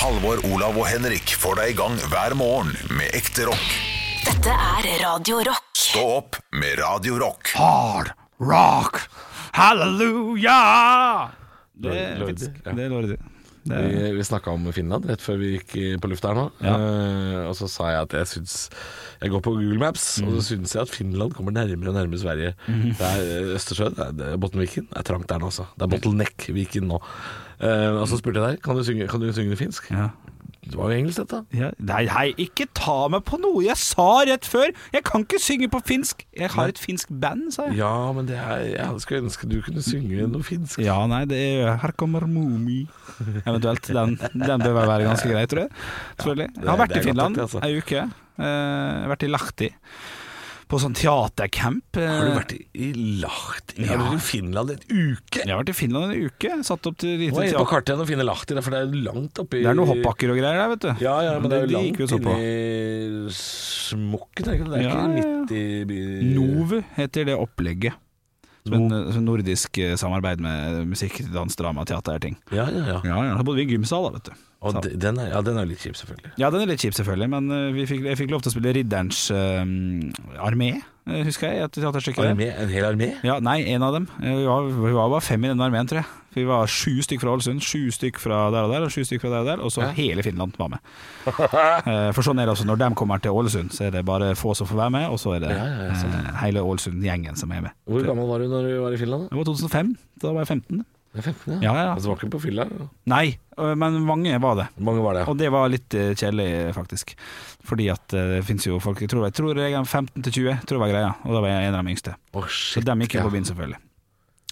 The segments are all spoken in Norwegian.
Halvor, Olav og Henrik får deg i gang hver morgen med ekte rock. Dette er Radio Rock. Stå opp med Radio Rock. Hard rock. Halleluja! Det er Lord- faktisk- Lord, ja. det er Lordi. Det er- Vi, vi snakka om Finland rett før vi gikk i- på lufta her nå. Ja. Eh, og så sa jeg at jeg syns Jeg går på Google Maps, Mm. og så syns jeg at Finland kommer nærmere og nærmere Sverige. Det er eh, Østersjø, det er, det er Bottenviken. Det er trangt der nå, altså. Det Mm. er Bottleneck-viken nå. Eh, og så spurte jeg deg kan du synge, kan du synge det finsk. Ja. Det var jo engelsk, dette. Ja. Nei, hei, ikke ta meg på noe jeg sa rett før! Jeg kan ikke synge på finsk! Jeg har et finsk band, sa jeg. Ja, men det er, jeg skulle ønske du kunne synge noe finsk. Ja, nei, det er Her kommer Mumi. Eventuelt. Den, den bør vel være ganske grei, tror jeg. Selvfølgelig. Jeg har vært det- det i er Finland godt nok, det, altså. ei uke. Eh, Jeg har vært i Lahti. På sånn teatercamp. eh, Har du vært i, i Lahti? Har du vært i Finland en uke? Jeg har vært i Finland en uke. Satt opp til lite Må jeg inn teater. på kartet igjen og finne Lahti, da, for det er langt oppi Det er noen hoppbakker og greier der, vet du. Ja, ja, men det er jo de langt gikk vi og så inn på. i smokken, er det ikke det? Det er Ja, ikke ja, ja. midt i eh, byen. Novu heter det opplegget. Som en, som en nordisk eh, samarbeid med musikk, dans, drama, teater og ting. Ja, ja, ja. Ja, ja. Da bodde vi i en gymsal, da, vet du. Og de- den er, ja, den er litt kjip, selvfølgelig. Ja, den er litt kjip selvfølgelig, men eh, vi fikk, jeg fikk lov til å spille Ridderens eh, armé, eh, husker jeg, i et teaterstykke. der. Armé, en hel armé? Ja, nei, en av dem. Eh, Vi var, vi var bare fem i den armeen, tror jeg. Vi var sju stykk fra Ålesund, sju stykk fra der og der, og sju stykk fra der og der, og så hele Finland var med. Eh, For sånn er det altså, når de kommer til Ålesund, så er det bare få som får være med, og så er det Ja, ja, ja, eh, hele Ålesund-gjengen som er med. Hvor gammel var du når du var i Finland? da? Det var 2005, da var jeg 15. Jeg er 15, Ja, ja. Altså, var ikke på fylla? ja. Nei, øh, men mange var det. Hvor mange var det? Og det var litt eh, kjedelig, faktisk. Fordi at eh, det fins jo folk Jeg tror, jeg tror jeg er 15 til 20, tror jeg var greia. Og da var jeg en av de yngste. Å, Så shit. dem gikk jo ja. på byen, selvfølgelig.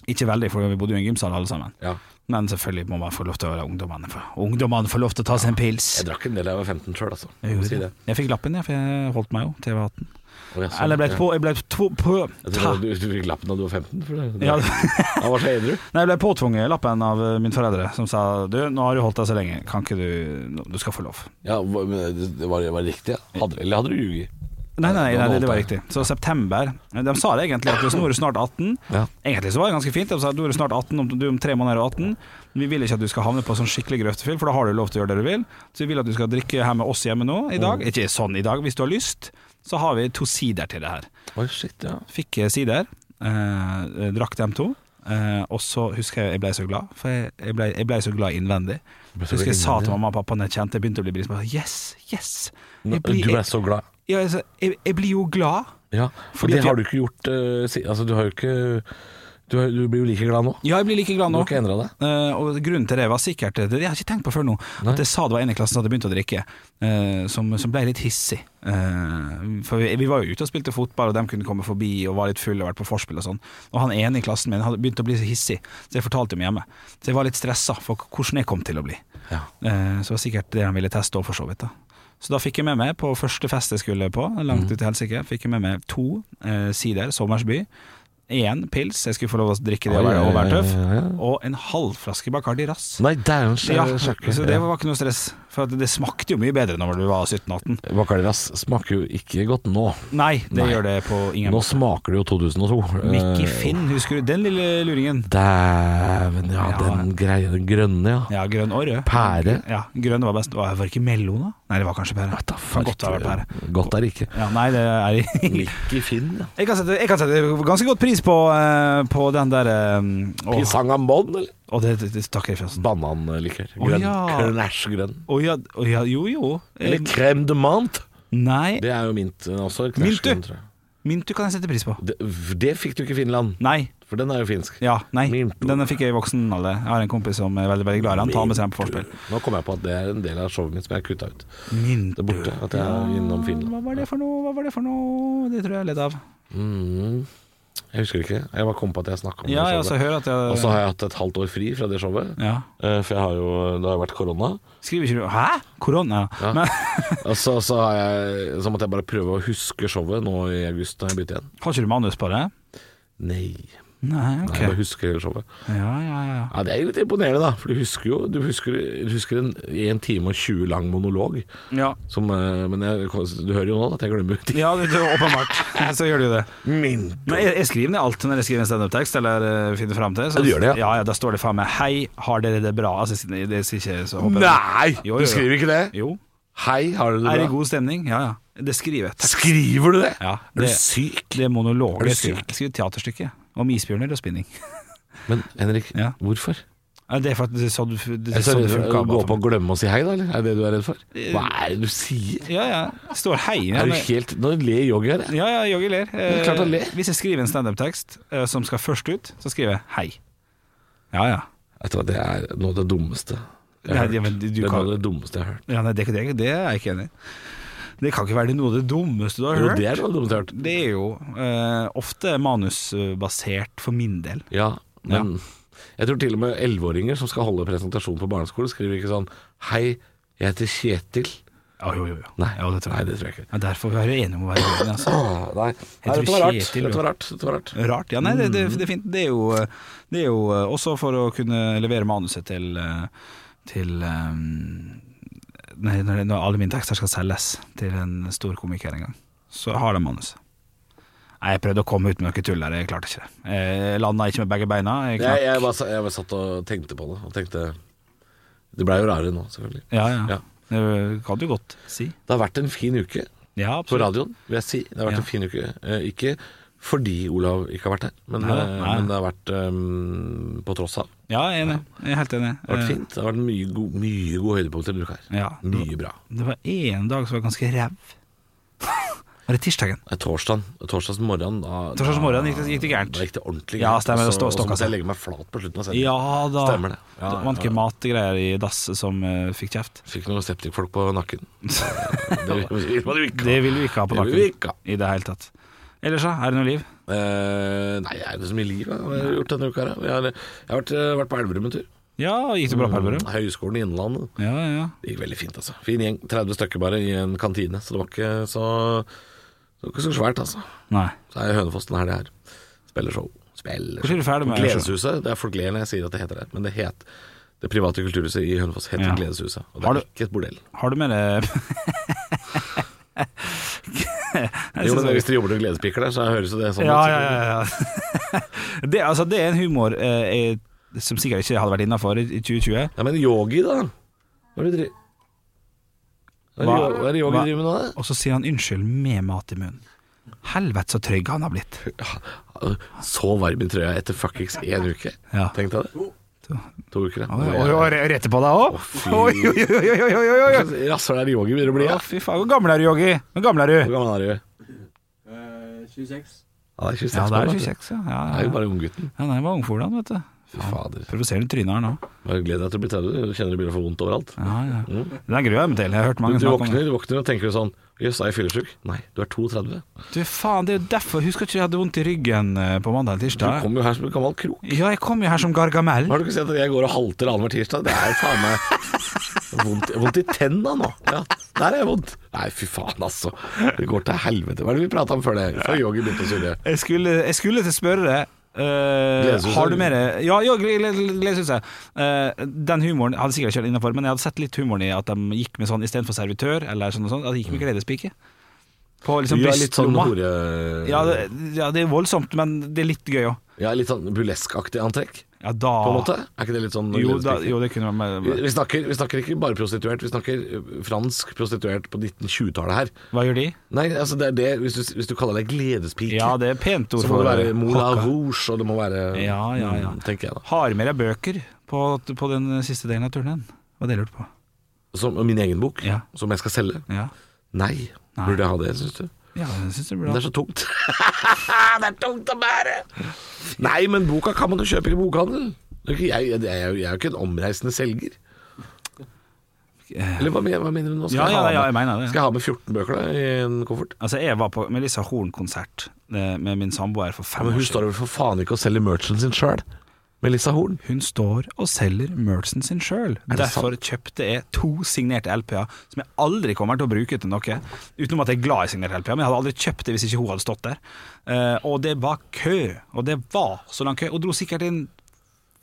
Ikke veldig, for vi bodde jo i en gymsal alle sammen. Ja. Men selvfølgelig må man få lov til å være ungdommene. For ungdommene får lov til å ta seg en pils. Jeg drakk en del da jeg var 15 sjøl, altså. Jeg, Må si gjorde det. det. jeg fikk lappen, jeg, for jeg holdt meg jo til jeg var 18. Å, ja, sånn, Eller jeg ble ja. på, jeg ble to, på, Jeg ta. tror du, du fikk lappen da du var 15? For det, Ja. Han var så edru. Nei, jeg ble påtvunget lappen av eh, mine foreldre, som sa du, nå har du holdt deg så lenge, kan ikke du nå- Du skal få lov. Ja, hva- men det det var, det var riktig, ja. Hadde, eller hadde du ljuget? Nei, nei, nei, Da nei det, holdt det var jeg. riktig. Så september eh, De sa det egentlig at nå er du snart 18. Ja. Egentlig så var det ganske fint. De sa du er snart 18, om du om tre måneder er 18. Vi vil ikke at du skal havne på sånn skikkelig grøftefyll, for da har du lov til å gjøre det du vil. Så vi vil at du skal drikke her med oss hjemme nå i dag. Ikke sånn i dag, hvis du har lyst. Så har vi to sider til det her. Oi, shit, ja. Fikk eh, sider, eh, drakk dem to. Eh, og så husker jeg jeg ble så glad, for jeg, jeg, ble, jeg ble så glad innvendig. ble så Så husker jeg sa glad innvendig, til ja. mamma og pappa når jeg kjente jeg begynte å bli brisen, yes, yes. Jeg blir, Du ble jeg, så glad. ja, altså, jeg, jeg blir jo glad. Ja, for Fordi det at har jeg- du ikke gjort eh, si, Altså, du har jo ikke du, har, du blir jo like glad nå. Ja, jeg blir like glad Du nå. har ikke endra deg. Eh, og grunnen til det var sikkert Det har jeg ikke tenkt på før nå. Nei. At jeg sa det var en i klassen som hadde begynt å drikke, eh, som, som ble litt hissig. Eh, for vi, vi var jo ute og spilte fotball, og de kunne komme forbi og var litt fulle og vært på vorspiel og sånn. Og han ene i klassen min hadde begynt å bli så hissig, så jeg fortalte dem hjemme. Så jeg var litt stressa for hvordan jeg kom til å bli. Ja. Eh, så det var sikkert det han ville teste òg, for så vidt. da Så da fikk jeg med meg, på første fest jeg skulle på, Mm. langt ut til helsike, fikk jeg med meg to eh, sider, Sommersby. Én pils, jeg skulle få lov å drikke det og være- og være tøff. Og en halv flaske Bacardi Rass. Nei, dæven Ja, sjakke. så det var ikke noe stress. For at det smakte jo mye bedre når du var 17-18. Bacardiras smaker jo ikke godt nå. Nei, det Nei. gjør det på ingen Nå måte. smaker det jo 2002. Eh, Mickey Finn, husker du den lille luringen? Dæven, ja, Ja. den greia, den grønne, ja. Ja, grønn og rød. Pære. Ja, grønn var best. Var det ikke melon, da? Nei, det var kanskje pære. Da Kan godt ha vært pære. Godt er det ikke. Ja, nei, det er Mikke Finn, ja. Jeg kan sette, jeg kan sette ganske godt pris på, eh, på den der eh, Å, Pisangambon, eller? å, det, det, det takker jeg for. Bananlikør. Å, Grønn. ja. Krenæsj grønn. Å ja, å ja, jo jo. Eh, Eller crème de menthe. Nei, Det er jo mint eh, også. knæsj Mint, du? grønn, tror jeg. mintu kan jeg sette pris på. Det, det fikk du ikke i Finland, Nei, for den er jo finsk. Ja, nei, Minto. denne fikk jeg i voksen alder. Jeg har en kompis som er veldig veldig glad i den. Tar med seg den på forspill. Nå kom jeg på at det er en del av showet mitt som jeg har kutta ut. Det Mintu. er borte. At jeg er innom Hva Finland. var det for noe? Hva var det for noe? Det tror jeg jeg led av. Mm, jeg husker ikke. Jeg bare kom på at jeg snakka om Ja, jeg det også showet. hører at Og så jeg har jeg hatt et halvt år fri fra det showet. ja. eh, For jeg har jo, det har jo vært korona. Skriver ikke du Hæ? Korona? Ja. Men Og så, så, har jeg, så måtte jeg bare prøve å huske showet nå i august, da jeg begynte igjen. har ikke du manus på det? Nei. Nei, Nei, ok. Jeg bare husker hele showet. Ja, ja, ja. Ja, Det er litt imponerende, da. For du husker jo du husker, du husker en 1 time og 20 lang monolog. Ja, Som, eh, men jeg, du hører jo nå at jeg glemmer ting. ja det, det, åpenbart. Så gjør du det. Min. Men jeg, jeg skriver ned alt når jeg skriver en standup-tekst, eller eh, finner fram til. Så, Ja, du gjør det, ja. ja. ja, Da står det faen meg 'Hei, har dere det bra?' Altså, det sier ikke så håper jeg- Nei! Jo, jo, Du jo. skriver ikke det? Jo. Hei, har du det Er det bra? god stemning? Ja, ja. Det skriver jeg. Takk. Skriver du det? Ja, Er du det- syk? Det er monolog. Er du Jeg skriver, syk? jeg skriver teaterstykke om isbjørner og spinning. Men Henrik, Ja. hvorfor? Ja, Det er for at det er sånn det, det, Er er du så sånn redd det for å funker. gå bare opp for og meg. glemme å si hei, da? eller? Er det det du er redd for? Hva er det du sier? Ja, ja. Det Står hei. Ja, Er du men- helt Nå ler Joggy her. jeg. ja, ja, Jogge ler. er klart han ler. Eh, Hvis jeg skriver en standup-tekst eh, som skal først ut, så skriver jeg hei. Ja, ja. Vet du hva, det er noe av det dummeste Nei, jeg har ja, hørt. men du- du Det er noe kan- av det dummeste jeg har hørt. ja nei, det, det, det er jeg ikke enig i. Det kan ikke være noe av det dummeste du har Jo, hørt. det er noe av det dummeste jeg har hørt. Det er jo eh, ofte manusbasert for min del. Ja, men jeg tror til og med 11-åringer som skal holde presentasjon på barneskole, skriver ikke sånn Hei, jeg heter Kjetil. Ja, jo, jo, jo. Nei, ja, det tror jeg. Nei, det tror jeg ikke. Ja, derfor er vi enige om å være uenige, altså. Åh, Nei, nei heter dette var rart. Kjetil, jo. Dette var rart. Dette var rart. Rart. Ja, nei, det, det, det er fint. Det er jo, det er jo eh, også for å kunne levere manuset til, eh, til eh, nei, når, når alle mine tekster skal selges til en stor komiker en gang, så har de manuset. Nei, jeg prøvde å komme ut med noe tull der, jeg klarte ikke det. Jeg landa ikke med begge beina. Jeg Jeg, knakk. jeg, bare, sa- jeg bare satt og tenkte på det, og tenkte Det blei jo rarere nå, selvfølgelig. Ja, ja. Ja. Det kan du godt si. Det har vært en fin uke Ja, på absolutt. radioen, vil jeg si. Det har vært Ja. en fin uke. Eh, Ikke fordi Olav ikke har vært her, men, Nei, eh, nei. men det har vært eh, på tross av. Ja, jeg er enig. Jeg er helt enig. Det har Eh, vært fint. Det har vært mye, go mye gode høydepunkter denne uka her. Ja. Mye bra. Det var én dag som var ganske ræv. Var det tirsdagen? Nei, torsdagen. Torsdags morgen da, Torsdags morgen da- gikk det- gikk det gærent. Da gikk det ordentlig Ja, stemmer, Og det så- stå- og så stokka måtte jeg seg. legge meg flat på slutten av sendingen. Ja da. Stemmer det. Ja, det var ikke ja. matgreier i dass som eh, fikk kjeft. Fikk noen septikfolk på nakken. Det vil man jo ikke Det vil vi ikke ha på Det vil vi ikke ha. nakken i det hele tatt. Ellers, da? Er det noe liv? Eh, nei, det er ikke så mye liv da. Hva har jeg gjort denne uka. her, da? Jeg har, jeg har vært, eh, vært på Elverum en tur. Ja, gikk det bra Mm. på Elverum? Høgskolen i Innlandet. Ja, ja, ja. Det gikk veldig fint, altså. Fin gjeng. 30 stykker bare i en kantine, så det var ikke så, det var ikke så svært, altså. Nei. Så er Hønefoss denne helga her. Spiller show. Spiller Hvor er du ferdig med Gledeshuset. Det er folk ler når jeg sier at det heter det, men det het det private kulturhuset i Hønefoss heter Ja. Gledeshuset. Og det Har er du- ikke et bordell. Har du med deg Jo, men Hvis dere jobber til Gledespiker der, så høres jo det sånn Ja, ut. ja, ja. ja. det, altså, det er en humor eh, jeg, som sikkert ikke hadde vært innafor i i 2020. Nei, men yogi, da? Hva er det du driver Hva er det yo- hva er det yogi Hva- driver med nå, da? Og så sier han unnskyld med mat i munnen. Helvete så trygg han har blitt. Så varm i trøya etter fuckings én uke. Ja. Tenk deg det. To uker, ja. rette på deg òg? fy. Oi, oi, oi, oi, oi, oi, oi, oi. Rasshøl er yogi begynner å bli, Ja, ja. fy faen. Hvor gammel er du, Yogi? Hvor gammel er Hvor du? gammel er du? 26. Ja, det er Ja, 26. det er bare. 26, ja. ja, Det er jo bare unggutten. ja nei, jeg var ungfolan, vet du. Fy fader. Provoserer du trynet her nå? Bare gled deg til å bli 30. Du kjenner det begynner å få vondt overalt. Ja, ja. Den gruer jeg meg til. Jeg har hørt Du, mange du, snakke om det. våkner, du våkner og tenker sånn Jøss, er jeg fyllesyk? Nei, du er 32. Du, faen, det er jo derfor. Husker ikke jeg hadde vondt i ryggen eh, på mandag eller Du tirsdag? kom jo her som en gammel krok. Ja, jeg kom jo her som Gargamel. Har du ikke sett at jeg går og halter annenhver tirsdag? Det er faen meg vondt, vondt i tenna nå. Ja, der er jeg vondt. Nei, fy faen, altså. Det går til helvete. Hva er det vi prata om før det? Før Yogi begynte å surre. Jeg skulle, jeg skulle til å spørre deg eh, Gledeshuset, har du mer Ja, ja Gledeshuset. Eh, den humoren hadde sikkert ikke vært innafor, men jeg hadde sett litt humoren i at de gikk med sånn istedenfor servitør, eller sånn og sånn, at de gikk med gledespike. På liksom Vi Mm. er litt sånn brystlomma. hore... ja, det, ja, det er voldsomt, men det er litt gøy òg. Ja, litt sånn burleskaktig antrekk, Ja, da på en måte. Er ikke det litt sånn Jo, da, gledespiker? jo, det kunne være Vi, med. vi, snakker, vi snakker ikke bare prostituert, vi snakker eh, fransk prostituert på 1920-tallet her. Hva gjør de? Nei, altså det er det, hvis du, hvis du kaller deg gledespike Ja, det er pent ord Så må for det være Moulin hakka. Rouge, og det må være Ja, ja, ja. mm, Tenker jeg da. Har med deg bøker på, på den siste delen av turneen? Var det jeg lurte på? Som og min egen bok, Ja. som jeg skal selge. Ja, Nei. Nei. Burde jeg ha det, syns du? ja jeg syns det blir bra. Men det er så tungt. det er tungt å bære! Nei, men boka kan man jo kjøpe i bokhandel. Det er ikke- Jeg, jeg, jeg, er jo- jeg er jo ikke en omreisende selger. Eller hva, men- hva mener du nå? Ja, ja, ha med- ja, jeg mener det, ja. Skal jeg ha med 14 bøker da, i en koffert? Altså, jeg var på Melissa Horn-konsert eh, med min samboer for Ja, fem men år hun siden. står jo for faen ikke og selger merchen sin sjøl. Melissa Horn. Hun står og selger merchen sin sjøl. det Derfor kjøpte jeg to signerte LP-er, som jeg aldri kommer til å bruke til noe. Utenom at jeg er glad i signerte LP-er, men jeg hadde aldri kjøpt det hvis ikke hun hadde stått der. Eh, og det var kø, og det var så lang kø, og dro sikkert inn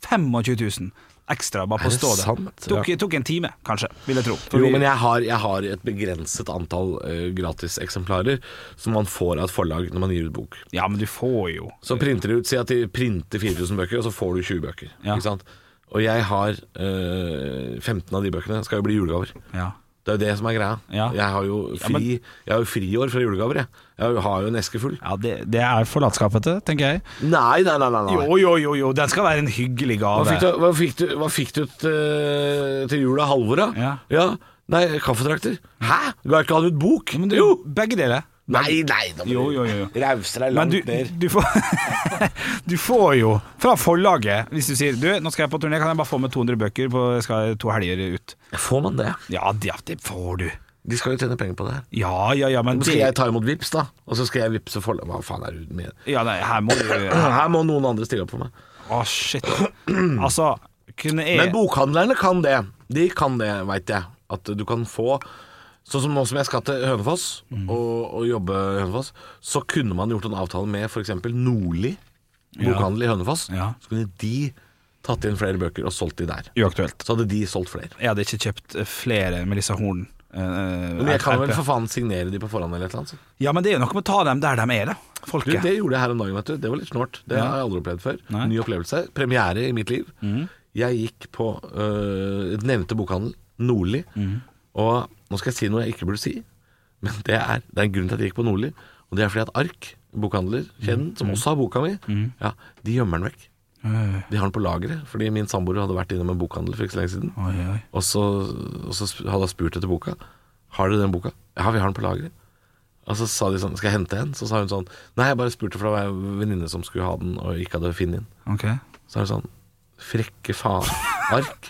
25 000 ekstra bare på Er å det stå der. sant? Tok, tok en time, kanskje, vil jeg tro. Jo, Fordi- men jeg har, jeg har et begrenset antall eh, gratiseksemplarer som man får av et forlag når man gir ut bok. Ja, men du får jo Så printer de ut, Si at de printer 4000 bøker, og så får du 20 bøker. Ja. Ikke sant? Og jeg har eh, 15 av de bøkene skal jo bli julegaver. Ja. Det er jo det som er greia. Ja. Jeg har jo fri men- Jeg har jo friår fra julegaver, jeg. Jeg har jo- har jo en eske full. Ja, det, det er forlatskapete, tenker jeg. Nei, nei, nei. nei, nei. Jo, jo, jo, jo, den skal være en hyggelig Hva gave. fikk du, hva fikk du, hva fikk du eh, til, til jul av Halvor, da? Ja. Nei, kaffetrakter. Hæ? Ga ikke han ut bok? Men du, jo! begge deler. Nei, nei, da må Jo, du jo, jo, jo. rause deg Men langt du, ned. du, får, du får jo fra forlaget Hvis du sier du, nå skal jeg på turné, kan jeg bare få med 200 bøker på jeg skal to helger ut? Får man det? Ja, det, det får du. De skal jo tjene penger på det her. Ja, ja, ja, men Men skal det, jeg ta imot vips da? Og så skal jeg vippse forlaget Hva faen er det med ja, nei, her må du Å, Her må noen andre stille opp for meg. shit. Altså, kunne jeg Men bokhandlerne kan det. De kan det, veit jeg. At du kan få Sånn som nå som jeg skal til Hønefoss Mhm. og, og jobbe i Hønefoss, så kunne man gjort en avtale med f.eks. Nordli bokhandel i Hønefoss. Ja. Så kunne de tatt inn flere bøker og solgt de der. Uaktuelt. Så hadde de solgt flere. Jeg hadde ikke kjøpt eh, flere Melissa Horn. eh, Men jeg kan vel RP. for faen signere de på forhånd eller et eller annet. Så. Ja, men det er jo noe med å ta dem der de er, da. Du, Folket. Det gjorde jeg her om dagen, vet du. Det var litt snålt. Det har jeg aldri opplevd før. Nei. Mhm. Ny opplevelse. Premiere i mitt liv. Jeg gikk på øh, nevnte bokhandel, Nordli, Mhm. og nå skal jeg si noe jeg ikke burde si, men det er, det er en grunn til at jeg gikk på Nordli, og det er fordi at Ark, bokhandlerkjeden, Mhm. som også har boka mi, ja, de gjemmer den vekk. Øh, De har den på lageret, fordi min samboer hadde vært innom en bokhandel for ikke så lenge siden. Oi, oi. Og så, og så sp- hadde jeg spurt etter boka. Har dere den boka? Ja, vi har den på lageret. Og så sa de sånn, skal jeg hente en? Så sa hun sånn, nei, jeg bare spurte for det var en venninne som skulle ha den og ikke hadde funnet den. Ok. Så er det sånn, frekke faen, ark.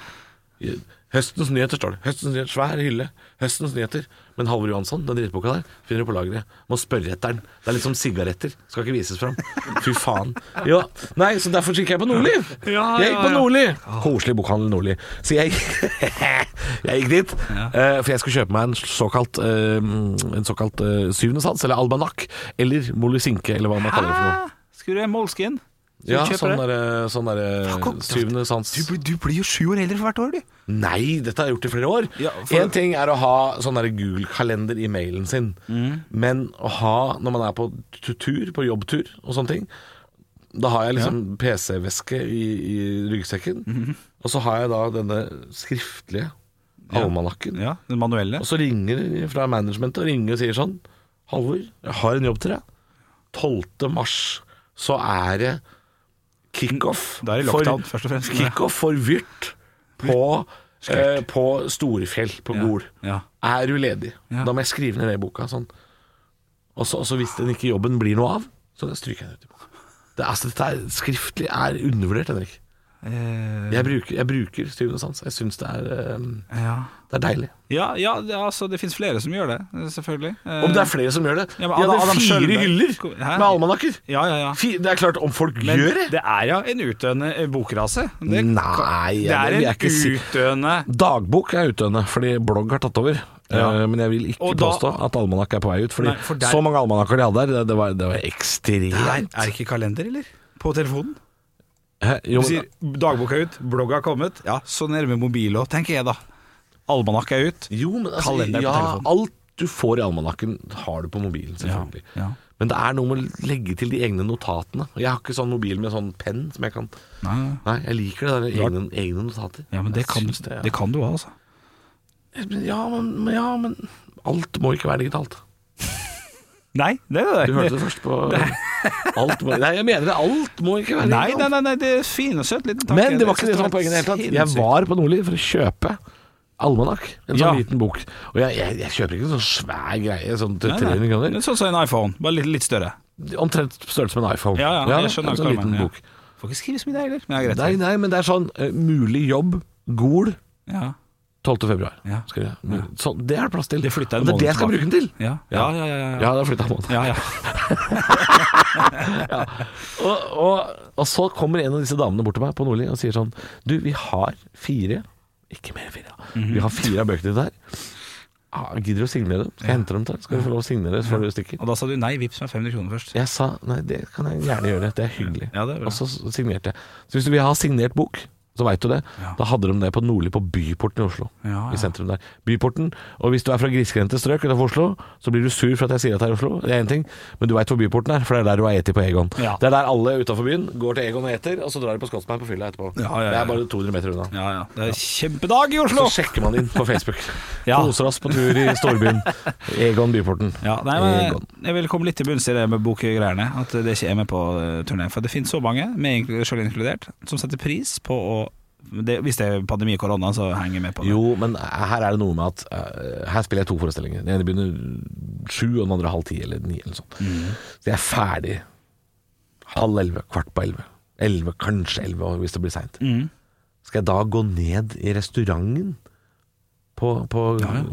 Høstens nyheter står det. Høstens nyheter, svær hylle. Høstens nyheter. Men Halvor Johansson, den drittboka der, finner du på lageret. Må spørre etter den. Det er litt som sigaretter. Skal ikke vises fram. Fy faen. Ja. Nei, så derfor gikk jeg på Nordli. Ja, jeg gikk ja, på ja. Nordli. Ah. Koselig bokhandel Nordli. Så jeg, jeg gikk dit, eh, for jeg skulle kjøpe meg en såkalt, eh, en såkalt eh, syvende sans, eller almanakk, eller molysinke, eller hva man kaller det for noe. Hæ? Skulle du ha Moleskin? Skal Ja, du kjøpe sånn det? derre sånn der, Fuck off, syvende sans. Du, blir- du blir jo sju år eldre for hvert år, du. Nei, dette har jeg gjort i flere år. Ja, Én for- ting er å ha sånn der Google-kalender i mailen sin, men å ha når man er på tu- tur, på jobbtur og sånne ting Da har jeg liksom PC-veske i, i ryggsekken, og så har jeg da denne skriftlige almanakken. Ja, den manuelle. Og så ringer de fra managementet og ringer og sier sånn Halvor, jeg har en jobb til deg. 12. mars så er det kickoff Da er det lockdown, først og fremst. Kickoff for Vyrt på, eh, på Storefjell, på Gol. Ja. Er du ledig? Ja. Da må jeg skrive ned det i boka. Sånn. Og så og så hvis den ikke jobben blir noe av, så stryker jeg den ut i boka. Det, er- altså, dette er, skriftlig er undervurdert, Henrik. Eh, Jeg bruker, jeg bruker syvende sans. Jeg syns det, er, eh, ja. det er deilig. Ja, ja det, altså, det finnes flere som gjør det, selvfølgelig. Eh, Om det er flere som gjør det? Ja, men de hadde Adam- Adam fire Schjølberg. hyller Hæ? med almanakker. Ja, ja, ja. Fi- Det er klart, om folk Men gjør det det er ja en utdøende eh, bokrase. Det, Nei, det ja, er det en vil jeg ikke si. utdøende Dagbok er utdøende, fordi blogg har tatt over. Ja. Eh, Men jeg vil ikke Og da- påstå at almanakk er på vei ut. Fordi Nei, for der- så mange almanakker de hadde der, det, det, var, det var Er ekstremt. det ikke kalender, eller? På telefonen? Hæ? Jo, Du men- sier dagboka ut, blogga er kommet. Ja, så nærme mobil òg, tenker jeg da. Almanakk er ut. jo, men altså, kalender på ja, telefonen. alt du får i almanakken, har du på mobilen, selvfølgelig. ja. Men det er noe med å legge til de egne notatene. Og Jeg har ikke sånn mobil med sånn penn som jeg kan Nei, nei. Nei, jeg liker det der egne, egne notater. ja, men det Jeg kan, syns det, ja. det kan du òg, altså. Ja, men, men- ja, men alt må ikke være digitalt. Nei, det er det. Du hørte det først på alt må, Nei, jeg mener det. Alt må ikke være Nei, nei, digitalt. nei, nei, det er fin og søt liten tanke. Men det var ikke det som var poenget i det hele tatt. Jeg var på Nordli for å kjøpe almanakk. En sånn Ja. liten bok. Og jeg, jeg, jeg kjøper ikke en sånn svær greie, sånn til Nei, nei. 300 Det kroner. er Sånn som en iPhone, bare litt, litt større. Omtrent størrelse med en iPhone. Ja, ja, jeg skjønner en hva sånn du liten mener, ja. bok. Får ikke skrive så mye der heller, men det er greit. Nei, nei, men det er sånn eh, mulig jobb, Gol, Ja. 12. februar. Ja. Skal jeg- Så det er det plass til. Det flytta en Og det er det jeg skal måned bruke den til. Ja, ja, ja. ja, ja. Ja, det har flytta en måned. Ja, ja. ja. og, og, og så kommer en av disse damene bort til meg på Nordli og sier sånn Du, vi har fire Ikke mer enn fire, ja. Vi har fire av bøkene dine der. Ah, gidder du å signere dem? Skal jeg hente dem til deg? Skal du få lov å signere før du stikker? Og da sa du nei, vips meg 500 kroner først. Jeg sa nei, det kan jeg gjerne gjøre, det er hyggelig. Ja, det er bra. og så signerte jeg. Så hvis du vil ha signert bok, så veit du det. Da hadde de det på Nordli, på Byporten i Oslo. Ja, ja. I sentrum der. Byporten. Og hvis du er fra grisgrendte strøk utenfor Oslo, så blir du sur for at jeg sier at det er Oslo. Det er én ting, men du veit hvor Byporten er, for det er der du har eti på Egon. Ja. Det er der alle utafor byen går til Egon og eter, og så drar de på Scotsman på fylla etterpå. Ja, ja, ja. Det er bare 200 meter unna. Ja, ja. Det er kjempedag i Så Oslo! sjekker man inn på Facebook. Ja. Koser oss på tur i storbyen. Egon Byporten. Ja, nei, men Egon. jeg vil komme litt til bunns i det med bokgreiene, at det ikke er med på eh, turné. For det finnes så mange, meg inkl- selv inkludert, som setter pris på å det, Hvis det er pandemi og korona, så henger jeg med på det. Jo, men her er det noe med at eh, Her spiller jeg to forestillinger. Den ene begynner sju, og den andre halv ti eller ni. Eller noe sånt. Mhm. Så jeg er ferdig halv elleve, kvart på elleve. Elleve, kanskje elleve og hvis det blir seint. Mhm. Skal jeg da gå ned i restauranten på, på,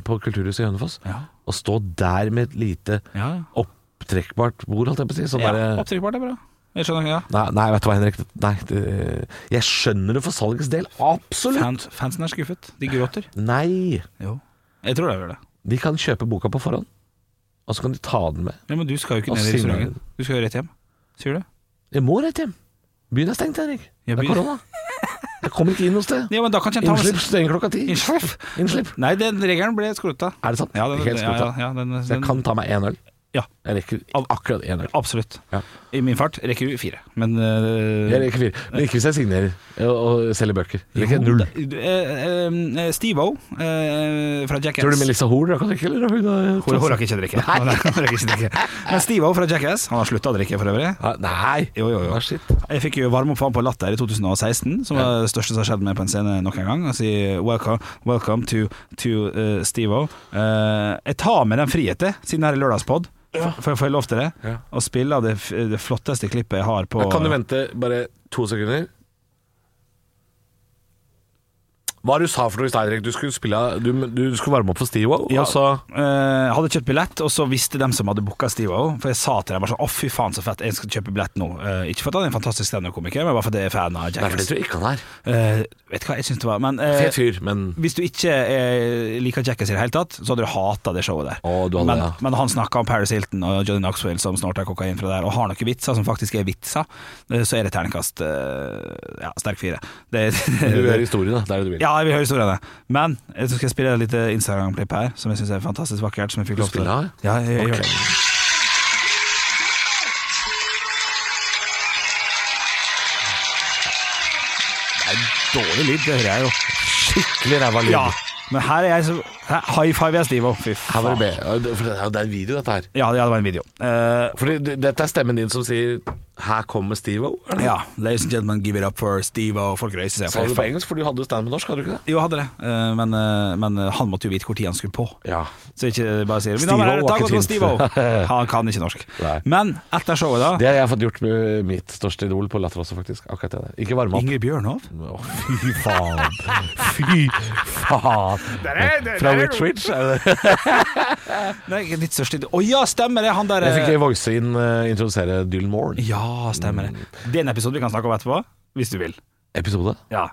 på Kulturhuset i Hønefoss Ja. og stå der med et lite Ja, ja. opptrekkbart bord, holdt jeg på å si? Sånn ja derre- Opptrykkbart er bra. Jeg skjønner, ja. nei, nei, vet du hva, Henrik. Nei, det, jeg skjønner det for salgets del. Absolutt! Fans, fansen er skuffet. De gråter. Nei! Jo. Jeg tror de gjør det. De kan kjøpe boka på forhånd, og så kan de ta den med. Ja, men du skal jo ikke Og ned i synger. restauranten. Du skal jo rett hjem. Sier du? Jeg må rett hjem. Byen er stengt, Henrik. Ja, det er byen- korona. Jeg kommer ikke inn noe sted. Ja, men da kan ikke en ta med Innslipp stenger klokka ti. Innslipp? Innslipp. Nei, den regelen ble skrota. Er det sant? Ja, den, ja, ja, Helt skruta. ja, den, Så jeg den, kan ta meg én øl. Ja. Jeg rekker akkurat én øl. absolutt. Ja. I min fart rekker du fire, men øh, Jeg rekker fire. Men ikke hvis jeg signerer og, og selger bøker. Jeg rekker null. Du, eh, eh, Steve-O eh, fra Jackass Tror du Melissa Hoel rakk å drikke, eller? Hun er- Hun, hun rakk ikke drikke. Hun rakk ikke drikke. Men Steve-O fra Jackass Han har slutta å drikke, for øvrig. Nei! Jo, jo, jo. Ah, shit. Jeg fikk jo varme opp for han på Latter i 2016, som var det største som har skjedd med på en scene noen gang. Han sier welcome, welcome to, to eh, Steve-O. Eh, jeg tar med den friheten, siden det her er lørdagspod. Får får jeg lov til det? Ja. Å spille det, f- det flotteste klippet jeg har på Da kan du vente bare to sekunder. Hva er det du sa for noe i stad, Henrik? Du skulle, spille, du, du skulle varme opp for Steve O, Ja. og så Eh, hadde kjøpt billett, og så visste de som hadde booka Steve O. For jeg sa til dem bare sånn Å, fy faen, så fett, jeg skal kjøpe billett nå. Eh, ikke for at han er en fantastisk standup-komiker, men bare fordi jeg er fan av Nei, for det Jackass. tror jeg ikke han er. Eh, vet du hva jeg syns det var Men eh, Fet fyr, men hvis du ikke eh, liker Jackass i det hele tatt, så hadde du hata det showet der. Å, du hadde men, det, ja. men han snakka om Paris Hilton og Johnny Knoxville som snorter kokain fra der, og har noen vitser som faktisk er vitser, eh, så er det terningkast eh, ja, sterk fire. Det, Du vil høre historien, da. Det er det du vil. Ja, jeg vil høre historiene. Men jeg skal spille et lite Instagram-klipp her, som jeg syns er fantastisk vakkert. Som jeg fikk Du lov til. spiller her? Ja, jeg, jeg, gjør det. Det er dårlig lyd, det hører jeg jo. Skikkelig ræva lyd. Ja, men her er jeg så her, High five jeg Stivo. Fy Her var faen. det be. Ja, det- For det er jo- det er en video, dette her. Ja, ja, det var en video. Eh, Fordi det- dette er stemmen din som sier 'Her kommer Steve-O'. er det? ja, Ladies and gentlemen, give it up for Steve og folk reiser seg. Sa du det på engelsk, for du hadde jo stand med norsk, hadde du ikke det? Jo, hadde det, Eh, men, eh, men han måtte jo vite hvor tid han skulle på. Ja. Så ikke bare sier «Mitt Steve-O navn er var ikke Dag Otto fint. Steve-O». Han kan ikke norsk. Nei. Men etter showet, da Det har jeg fått gjort med mitt største idol på latter også, faktisk. Akkurat det der. Ikke varme opp. Ingrid Bjørnov? Å, fy faen. Fy faen. Fra Witch Witch. er det det? Nei, ditt største idol Å ja, stemmer det! Han der Jeg eh, fikk voice inn eh, introdusere Dylan Moore. Ja, stemmer det. Mm. Det er en episode vi kan snakke om etterpå, hvis du vil. Episode? Ja.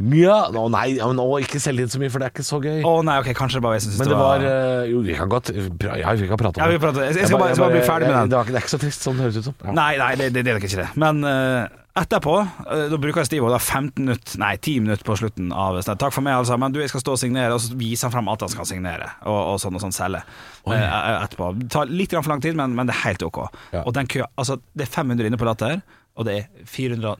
Ja. Å nei, ja, men å, ikke selg inn så mye, for det er ikke så gøy. Å nei, ok, kanskje det bare jeg som syns Men det det var var eh, Jo, vi kan godt pra- Ja, vi kan prate om Ja, vi det. prater. Jeg- Jeg skal bare, jeg skal bare bli ferdig med den. Det, var ikke, det er ikke så trist som det høres ut som. Nei, nei, det, det, det er nok ikke det. Men eh, etterpå, eh, da bruker Steve da 15 minutter, nei 10 minutter på slutten av stedet. Takk for meg, alle sammen. Du, jeg skal stå og signere, og så viser han fram at han skal signere, og, og sånn og sånn selge. Eh, etterpå. Det tar litt grann for lang tid, men, men det er helt ok. Ja. Og den køa, altså det er 500 inne på Latter, og det er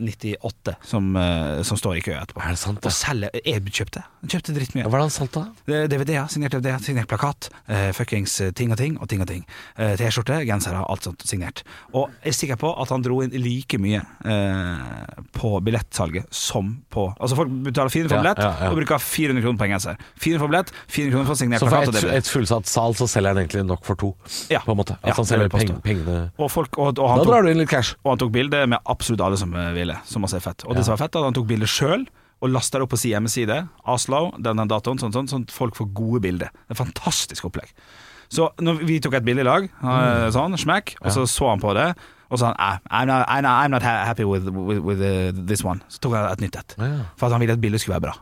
498 som, eh, som står i kø etterpå. Er det sant, da? Og selger Jeg kjøpte. Kjøpte drittmye. Ja, Hva er det han salta? Det er DVD-er, signert DVD-er, signert plakat, eh, fuckings eh, ting og ting og ting og ting. Eh, T-skjorte, gensere, alt sånt signert. Og jeg er sikker på at han dro inn like mye eh, på billettsalget som på Altså folk betaler 400 for Ja, billett ja, ja. og bruker 400 kroner på en genser. 400 for billett, 400 kroner for signert Så for plakat og et, DVD. et fullsatt sal så selger han egentlig nok for to, Ja. på en måte. At Ja, han det vil selger jeg påstå. peng, pengene Og, folk, og, og Da han tok drar du inn litt cash. Og han tok bilde med absolutt alle som eh, ville, som også er fett. Og det som var fett, var at han tok bilde sjøl, og lasta det opp på sin hjemmeside. Aslo, den den datoen, sånn, sånn, sånn at folk får gode bilder. Det er et Mm. fantastisk opplegg. Så når vi tok et bilde i lag, eh, sånn, smekk, og så så han på det. Og så sa han "Ah, I'm not, I'm not, I'm not ha- happy with, with, with eh, this one. Så tok han et nytt et. Ja. For at han ville at bildet skulle være bra.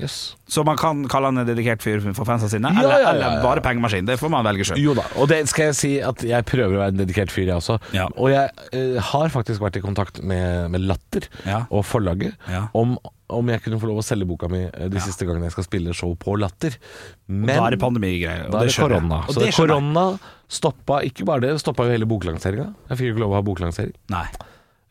Yes. Så man kan kalle han en dedikert fyr for fansa sine, Ja, eller, ja, ja, ja. eller bare pengemaskin. Det får man velge sjøl. Jo da, og det skal jeg si at jeg prøver å være en dedikert fyr, jeg også. Ja. Og jeg eh, har faktisk vært i kontakt med, med Latter Ja. og forlaget Ja. om, om jeg kunne få lov å selge boka mi eh, de siste gangene jeg skal spille show på Latter. Men Da er det pandemigreier. og da er det skjønner jeg. korona. Og Så det skjønner jeg. korona stoppa ikke bare det, det stoppa jo hele boklanseringa. Jeg fikk jo ikke lov å ha boklansering. Nei.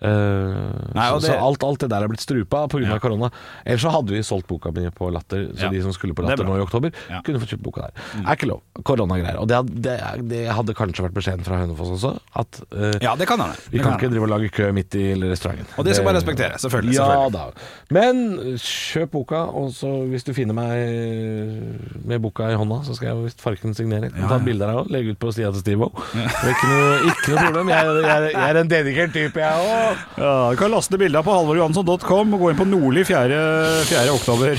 Eh, Nei, så, og så det- alt, alt det der er blitt strupa pga. Ja. av korona. Ellers så hadde vi solgt boka mi på Latter, så Ja. de som skulle på Det er Latter bra. nå i oktober, Ja. Mm. kunne fått kjøpt boka der. Er ikke lov. Koronagreier. Og det hadde, det, det hadde kanskje vært beskjeden fra Hønefoss også, at eh, Ja, det kan han. det. vi Det kan kan ikke han. drive og lage kø midt i restauranten. Og det skal man respektere, selvfølgelig, Ja selvfølgelig. da. Men kjøp boka, og så hvis du finner meg med boka i hånda, så skal jeg visst farken signere. Kan ta bilder av og legge ut på sida til Steve-O. Det er ikke noe, ikke noe problem. Jeg, jeg, jeg er en dedikert type, jeg òg. Ja, du kan laste ned bilder på halvorjohansson.com og gå inn på Nordli 4. 4. oktober.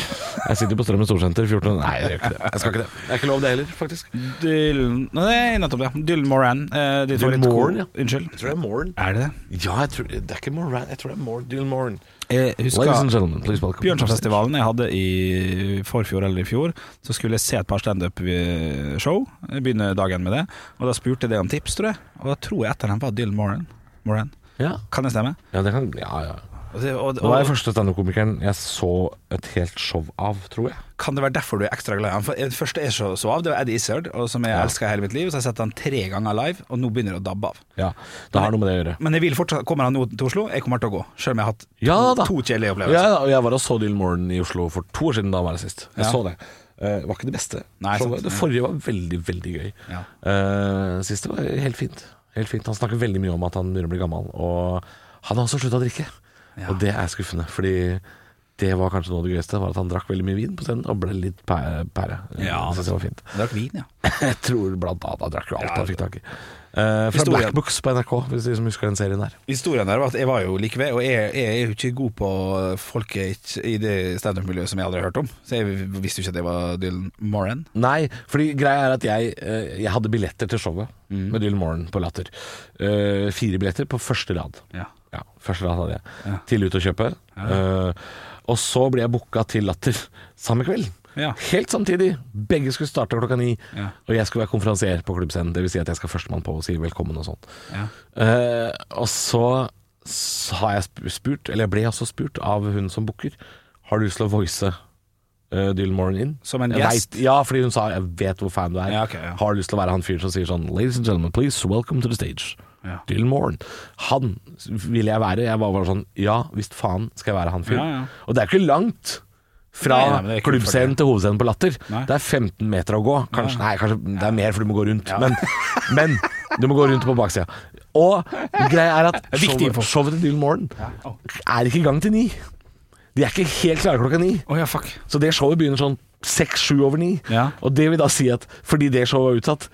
Jeg sitter på Strømmen Storsenter 14. Nei, jeg gjør ikke det. Jeg skal ikke det. Det er ikke lov det heller, faktisk. Dylan Nei, nettopp det. Dylan Moran. Eh, ditt Dylan favoritt- Moran, ja. Unnskyld. Jeg tror det er Moren. Er det det? Ja, jeg tror, det er ikke Moran. Jeg tror det er Moran. Dylan Moran. Jeg Ladies and husker gentlemen, please welcome. Bjørnsonfestivalen jeg hadde i forfjor eller i fjor. Så skulle jeg se et par standup-show. Jeg Begynner dagen med det. Og da spurte jeg deg om tips, tror jeg. Og da tror jeg et av dem var Dylan Moran. Moran. Ja. Kan det stemme? ja, det kan Ja, ja. Og det, og, Det var den og, første standup-komikeren jeg så et helt show av, tror jeg. kan det være derfor du er ekstra glad i ham? For Den første jeg så, så av, det var Eddie Izzard, og som jeg elsker hele mitt liv. Så har jeg sett han tre ganger live, og nå begynner det å dabbe av. Ja, Det har noe med det å gjøre. Men jeg vil fortsatt, kommer han nå til Oslo? Jeg kommer til å gå, selv om jeg har hatt to, Ja da. to kjedelige Ja, opplevelser. ja, og jeg var og så Dylan Moran i Oslo for to år siden da han var her sist. Jeg Ja. så det. Eh, Det var ikke det beste. Nei, Showet. sant. det forrige var veldig, veldig gøy. Ja. Eh, det siste var helt fint. helt fint. Han snakker veldig mye om at han begynner å bli gammel. Og han har også slutta å drikke. Og det er skuffende, fordi det var kanskje noe av det gøyeste. Var At han drakk veldig mye vin på scenen og ble litt pæ- pære. Eh, Ja, det synes jeg var fint. Drakk vin, ja. Jeg tror blant annet han drakk jo Ja. alt han fikk tak i. Eh, fra Historien. Black Books på NRK, hvis de som husker den serien der. Historien der var at jeg var jo like ved, og jeg, jeg er jo ikke god på folk jeg ikke- i det standup-miljøet som jeg aldri har hørt om. Så jeg visste jo ikke at det var Dylan Moran. Nei, fordi greia er at jeg, eh, jeg hadde billetter til showet Mm. med Dylan Moran på Latter. Eh, fire billetter på første rad. Ja. Ja, første rad hadde jeg. Tidlig ute å kjøpe. Eh, og så ble jeg booka til Latter samme kveld. Ja. Helt samtidig. Begge skulle starte klokka ni. Ja. Og jeg skulle være konferansier på klubbscenen. Dvs. Si at jeg skal førstemann på og si velkommen og sånn. Ja. Eh, og så s- har jeg sp- spurt, eller jeg ble også spurt av hun som booker, har du lyst til å voice eh, Dylan Moran inn? Som en Jeg gjest? vet- ja, fordi hun sa jeg vet hvor fan du er. Ja, ok, ja. Har lyst til å være han fyren som sier sånn Ladies and gentlemen, please, welcome to the stage. Ja. Dylan Moran. Han s- ville jeg være. Jeg var bare sånn Ja, visst faen skal jeg være han fyren. Ja, ja. Og det er ikke langt. Fra Nei, nei, men det er ikke klubbscenen til hovedscenen på Latter. Nei. Det er 15 meter å gå. Kanskje, nei, kanskje det er mer, for du må gå rundt. Men, men du må gå rundt på baksida. Og greia er at er viktig info. showet, showet til Dylan Morten er ikke i gang til ni. De er ikke helt klare klokka ni. Å ja, fuck. Så det showet begynner sånn seks-sju over ni. Ja. Og det vil da si at fordi det showet var utsatt,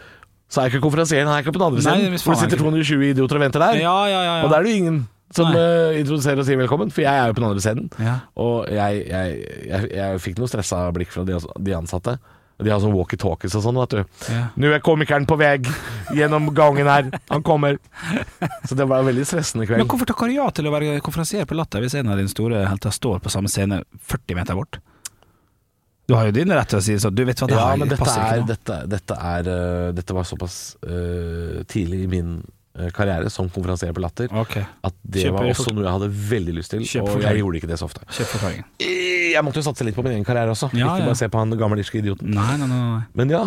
så er ikke konferansieren her ikke på den Nei, andre siden. hvis Hvor faen det sitter ikke. 220 idioter og venter der. Ja, ja, ja, ja. Og da er det jo ingen som Nei. eh, introduserer og sier velkommen, for jeg er jo på den andre scenen. Ja. Og jeg, jeg, jeg, jeg fikk noe stressa blikk fra de, de ansatte. De har sånn walkietalkies og sånn, vet du. Ja. Nå er komikeren på vei gjennom gangen her. Han kommer. Så det var en veldig stressende Men kveld. hvorfor takker du ja til å være konferansier på Latter hvis en av dine store helter står på samme scene 40 meter bort? Du har jo din rett til å si sånn Du vet hva, det Ja, her men dette, passer er, ikke nå. dette, dette, er, eh, dette var såpass eh, tidlig i min eh, karriere som konferansier på Latter Ok. at det Kjøper var også fort- noe jeg hadde veldig lyst til, Kjøper og forklaring. jeg gjorde ikke det så ofte. Eh, Kjøp forklaringen. Jeg måtte jo satse litt på min egen karriere også, Ja, ikke ja. bare se på han gamle irske idioten. Nei, nei, nei. nei. Men ja,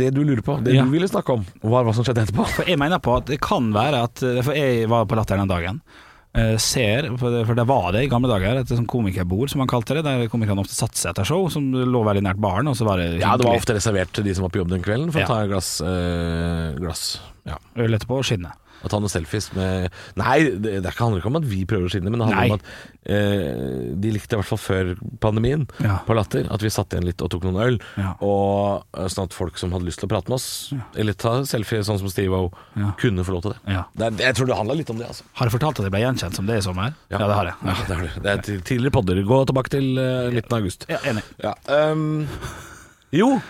det du lurer på, det Ja. du ville snakke om, var hva som skjedde etterpå. For jeg mener på at det kan være at eh, For jeg var på Latter den dagen. eh, Ser, for det, for det var det i gamle dager, et sånt komikerbord som man kalte det, der komikerne ofte satte seg etter show, som lå veldig nært baren, og så var det Ja, det var hyggelig. ofte reservert til de som var på jobb den kvelden, for Ja. å ta et glass, eh, glass. Ja. øl etterpå og skinne. Og ta noen selfies med Nei, det, det handler ikke om at vi prøver å skinne, men det handler Nei. om at eh, de likte i hvert fall før pandemien Ja. på Latter at vi satt igjen litt og tok noen øl. Ja. Og eh, Sånn at folk som hadde lyst til å prate med oss, eller ta selfie sånn som Steve-O, Ja. kunne få lov til det. Ja. det er- jeg tror det handla litt om det, altså. Har jeg fortalt at jeg ble gjenkjent som det i sommer? Ja, det har jeg. Ja, det, har du. det er til- tidligere podder. Gå tilbake til eh, midten av august. Ja, enig. Ja, ehm, jo,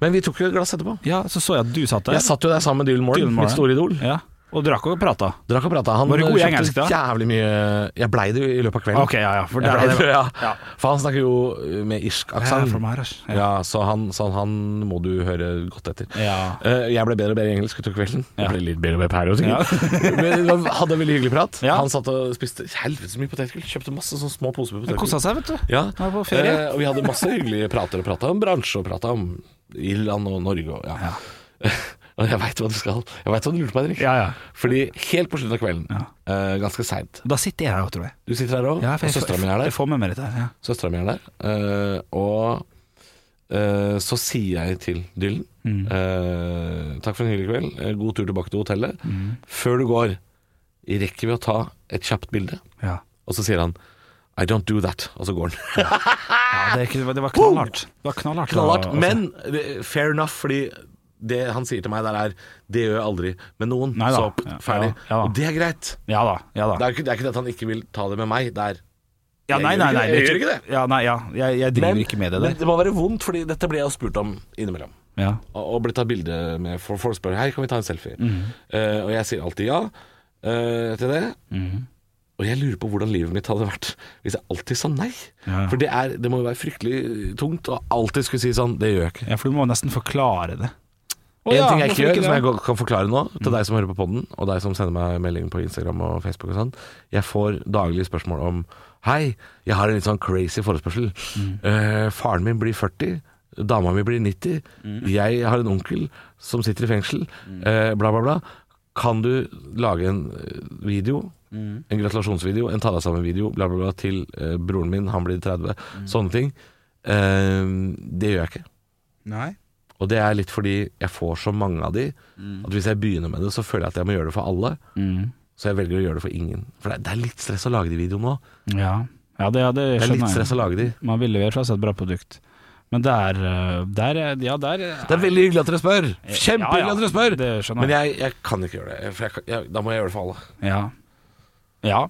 men vi tok jo et glass etterpå. Ja, så så jeg at du satt der. Jeg satt jo der sammen med Dylan Moran, Dylan Moran. mitt store idol. Ja. Og drakk og prata. Drakk og prata. Han Var du god i kjøpte engelsk da? jævlig mye Jeg blei det jo i løpet av kvelden. Ok, ja, ja, for jeg der- blei det, ja. Ja. For han snakker jo eh, med irsk Ja, aksent. for Maharashtra, ja. Ja, så han, så han må du høre godt etter. Ja. Eh, Jeg ble bedre og bedre i engelsk utover kvelden. Jeg ble litt bedre og bedre her også, Ja. sikkert. Men han hadde en veldig hyggelig prat. Ja. Han satt og spiste helvetes mye potetgull. Kjøpte masse sånne små poser med potetgull. Kosa seg, vet du. Ja. Han var på ferie. Eh, og vi hadde masse hyggelige prater og prata om bransje og prata om Irland og Norge og ja. Og jeg veit hva du skal. Jeg veit hva du lurer på, Henrik. Ja, ja. Fordi helt på slutten av kvelden, eh, ganske seint Da sitter jeg her, tror jeg. Du sitter her òg, Ja, og for jeg- søstera mi er Jeg der. får med meg dette. her, Ja. Søstera mi er der. eh, og eh, så sier jeg til Dylan eh, Takk for en hyggelig kveld. Eh, God tur tilbake til hotellet. Før du går, rekker vi å ta et kjapt bilde? Ja. Og så sier han I don't do that. Og så går han. Ja, det, er ikke, det var knallhardt. Det var knallhardt. Knallhardt, å- å- men det- fair enough, fordi det han sier til meg der er Det gjør jeg aldri med noen. Nei da. Så p- Ja, ferdig. ja, ja. Og det er greit. Ja da. Ja, da. Det er jo ikke, det er ikke det at han ikke vil ta det med meg. Det er Ja, Jeg nei, gjør nei, ikke nei, det. Jeg er gjør ikke Ja, nei, ja. Jeg, jeg driver ikke med det men der. det må være vondt, Fordi dette ble jeg jo spurt om innimellom. Ja. Og, og ble tatt bilde med for Folk spør Hei, kan vi ta en selfie. Mm. Eh, og jeg sier alltid ja eh, til det. Mm. Og jeg lurer på hvordan livet mitt hadde vært hvis jeg alltid sa nei. Ja. For det, er, det må jo være fryktelig tungt å alltid skulle si sånn Det gjør jeg ikke. ja, for du må nesten forklare det. En ting jeg ikke gjør, som jeg kan forklare nå, til deg som hører på podden, og deg som sender meg melding på Instagram og Facebook og sånn. Jeg får daglige spørsmål om Hei, jeg har en litt sånn crazy forespørsel. Eh, faren min blir 40. Dama mi blir 90. Jeg har en onkel som sitter i fengsel. eh, bla, bla, bla. Kan du lage en eh, video? En gratulasjonsvideo, en ta deg sammen-video, bla, bla, bla, til eh, broren min, han blir 30. Sånne ting. Eh, det gjør jeg ikke. Nei. Og det er litt fordi jeg får så mange av de at hvis jeg begynner med det, så føler jeg at jeg må gjøre det for alle. Mm. Så jeg velger å gjøre det for ingen. For det er, det er litt stress å lage de videoene òg. Ja, ja det, ja, det Det er skjønner litt jeg. stress å lage de. Man vil levere fra seg et bra produkt. Men der, eh, der er- Ja, der er- Det er veldig hyggelig at dere spør! Ja, ja, Kjempehyggelig at dere spør! Det skjønner Men jeg. jeg, jeg kan ikke gjøre det, for jeg, kan- jeg, da må jeg gjøre det for alle. Ja. ja.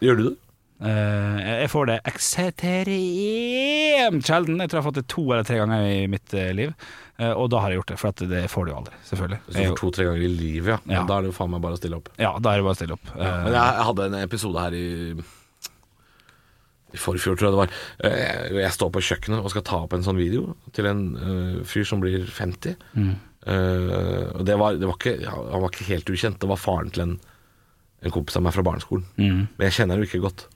Gjør du det? Eh, jeg får det ekstremt sjelden. Jeg tror jeg har fått det to eller tre ganger i mitt eh, liv. Eh, og da har jeg gjort det, for at det får du jo aldri, selvfølgelig. Hvis du får to-tre ganger i livet, ja. Ja. Da er det jo faen meg bare å stille opp. ja, da er det bare å stille opp. Eh, Men jeg, jeg hadde en episode her i i forfjor, tror jeg det var. Eh, Jeg, jeg står på kjøkkenet og skal ta opp en sånn video til en eh, fyr som blir 50. Mm. Eh, og det var, det var ikke, han var ikke helt ukjent. Det var faren til en, en kompis av meg fra barneskolen. Mm. Men jeg kjenner jo ikke godt.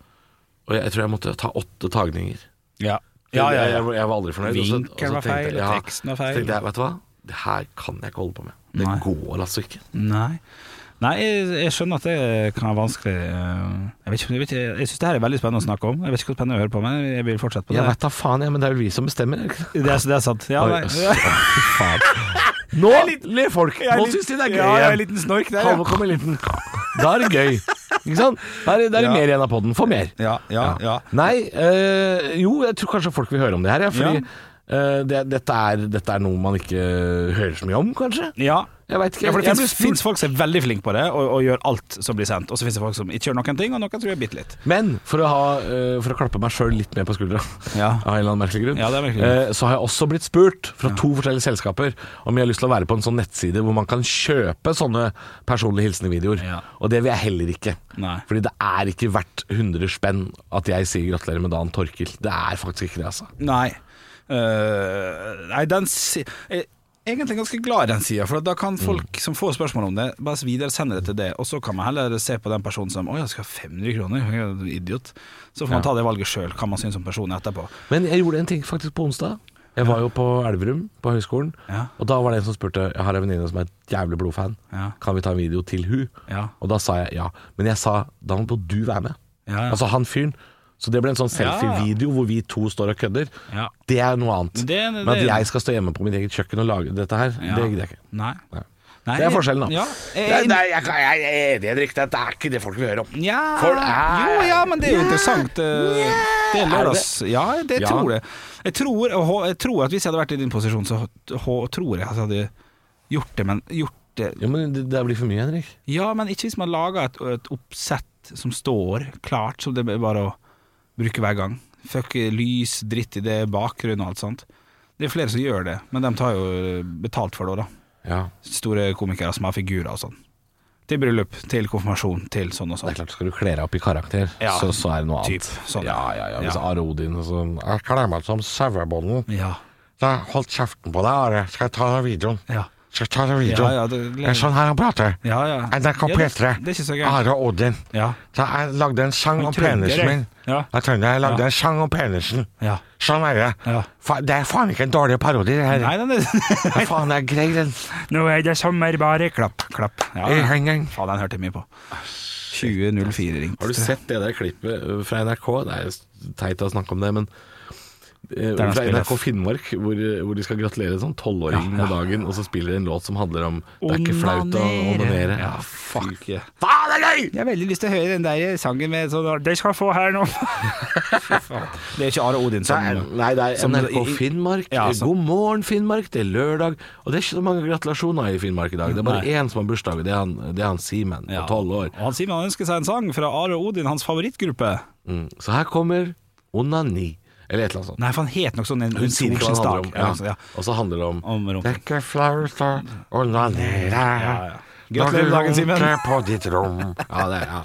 Og jeg, jeg tror jeg måtte ta åtte tagninger. ja. Ja, ja, ja. Jeg, jeg var aldri fornøyd. og så- og så Vinkelen var tenkte jeg- feil, og ja. teksten var feil. Så tenkte jeg, vet du hva, det her kan jeg ikke holde på med. Det Nei. går altså ikke. Nei. Nei, jeg, jeg skjønner at det kan være vanskelig. eh, Jeg, vet ikke, jeg, vet ikke, jeg syns det her er veldig spennende å snakke om. Jeg vet ikke hvor spennende å høre på, men jeg vil fortsette på det. Jeg veit da faen, jeg, men det er vel vi som bestemmer. Ikke? sant? Det er, det er sant. Ja, Oi, nei. ass. Fy faen. Nå ler folk. Nå syns de det er gøy. Ja, jeg er en igjen. liten snork der, Halvor kom en liten Da er det gøy. Ikke sant? Da er det, da er det Ja. mer igjen av poden. Få mer. ja. Ja, ja, Nei, eh, jo, jeg tror kanskje folk vil høre om det her, ja, fordi eh, det, dette, er, dette er noe man ikke hører så mye om, kanskje. ja. ja. Jeg veit ikke. Ja, for Det jeg ble fins spurt. finnes folk som er veldig flinke på det, og, og gjør alt som blir sendt. Og så fins det folk som ikke gjør noen ting, og noen tror jeg bitte litt. Men for å, ha, eh, for å klappe meg sjøl litt mer på skuldra, Ja. av en eller annen merkelig grunn, Ja, det er merkelig grunn. eh, så har jeg også blitt spurt fra to forskjellige selskaper om jeg har lyst til å være på en sånn nettside hvor man kan kjøpe sånne personlige hilsenevideoer. Ja. Og det vil jeg heller ikke. Nei. Fordi det er ikke verdt 100 spenn at jeg sier gratulerer med dagen, Torkil. Det er faktisk ikke det, altså. Nei. Øh, nei, den si jeg er egentlig ganske glad i den sida, for da Mm. kan folk som får spørsmål om det, bare videresende det til det, og så kan man heller se på den personen som 'Å, jeg skal ha 500 kroner', jeg er en idiot. Så får man ta det valget sjøl, hva man syns om personen etterpå. Men jeg gjorde en ting faktisk på onsdag. Jeg var jo på Elverum, på høyskolen. Ja. Og da var det en som spurte Jeg har en venninne som er et jævlig blodfan. Ja. Kan vi ta en video til hun? Ja. Og da sa jeg ja. Men jeg sa da må du være med. Ja, ja. Altså han fyren. Så det ble en sånn selfie-video hvor vi to står og kødder. Ja. Det er noe annet. Det- det- Men at jeg skal stå hjemme på mitt eget kjøkken og lage dette her, Ja. det gidder jeg ikke. Nei. Nei. Nei, Det er forskjellen, da. Ja, Nei, jeg, nei, jeg, jeg, jeg er enig, Henrik. Det er ikke det folk vil høre om. Nja For- Jo, ja, men det er jo interessant. eh, Det er lørdags. Er Ja, det Ja. tror jeg. Jeg tror, og hå- jeg tror at hvis jeg hadde vært i din posisjon, så hå- tror jeg at jeg hadde gjort det, men gjort det Jo, men det, det blir for mye, Henrik. Ja, men ikke hvis man lager et, et oppsett som står klart, som det er bare å bruke hver gang. Fuck lys, dritt i det, bakgrunn og alt sånt. Det er flere som gjør det, men de tar jo eh, betalt for det òg, da. Ja. Store komikere som har figurer og sånn. til bryllup, til konfirmasjon, til sånn og Det er sånn. klart, Skal du kle deg opp i karakter, Ja, så, så er det noe typ, annet. sånn. Ja, ja, ja. Hvis Ja. Are Odin og sånn Jeg kler meg ut som sauebonden. Ja, Da, Hold kjeften på deg, Are. Skal jeg ta den videoen? ja. Skal jeg ta den videoen? Ja, ja, det- det er sånn her han prater. Ja, ja. NRK Ja, det- Ah, P3. det er ikke så gærent. Are Odin. Ja. Så jeg lagde en sang Han om trønder, penisen min. jeg. Ja. Jeg trønder. Jeg lagde Ja. en sang om penisen. Ja. Sånn er det. Ja. Fa det er faen ikke en dårlig parodi, det her. Nei, den er Ja, faen, det er grei, den. Nå er det sommer, bare klapp, klapp. Ja, I ja. hengen. Faen, den hørte jeg mye på. 2004 ringte. Har du sett det der klippet eh, fra NRK? Det er jo teit å snakke om det, men eh, han fra spiller. NRK Finnmark, hvor, eh, hvor de skal gratulere en sånn Ja, tolvåring ja. med dagen, og så spiller de en låt som handler om Det er ikke flaut å onanere. Ja, fuck. Fy Faen, det er gøy! Jeg har veldig lyst til å høre den der sangen med sånn De skal få her nå. det er ikke Are Odin Det som er, nei, det er som- NRK i- i- Finnmark. Ja, altså. God morgen, Finnmark. Det er lørdag. Og det er ikke så mange gratulasjoner i Finnmark i dag. Det er bare Nei. én som har bursdag, og det er han, det er han Simen på Ja. tolv år. Og han sier man ønsker seg en sang fra Are Odin, hans favorittgruppe. Mm. Så her kommer Onani, eller et eller annet sånt. Nei, for han het nok sånn en, Hun en sier ikke hva solskins det handler dag. om. Ja, altså, Ja. ja. Og så handler det om Om rumpa. Det er ikke flaut å onanere ja. Gratulerer med dagen, Simen. Når du runker på ditt rom. Ja, det er ja.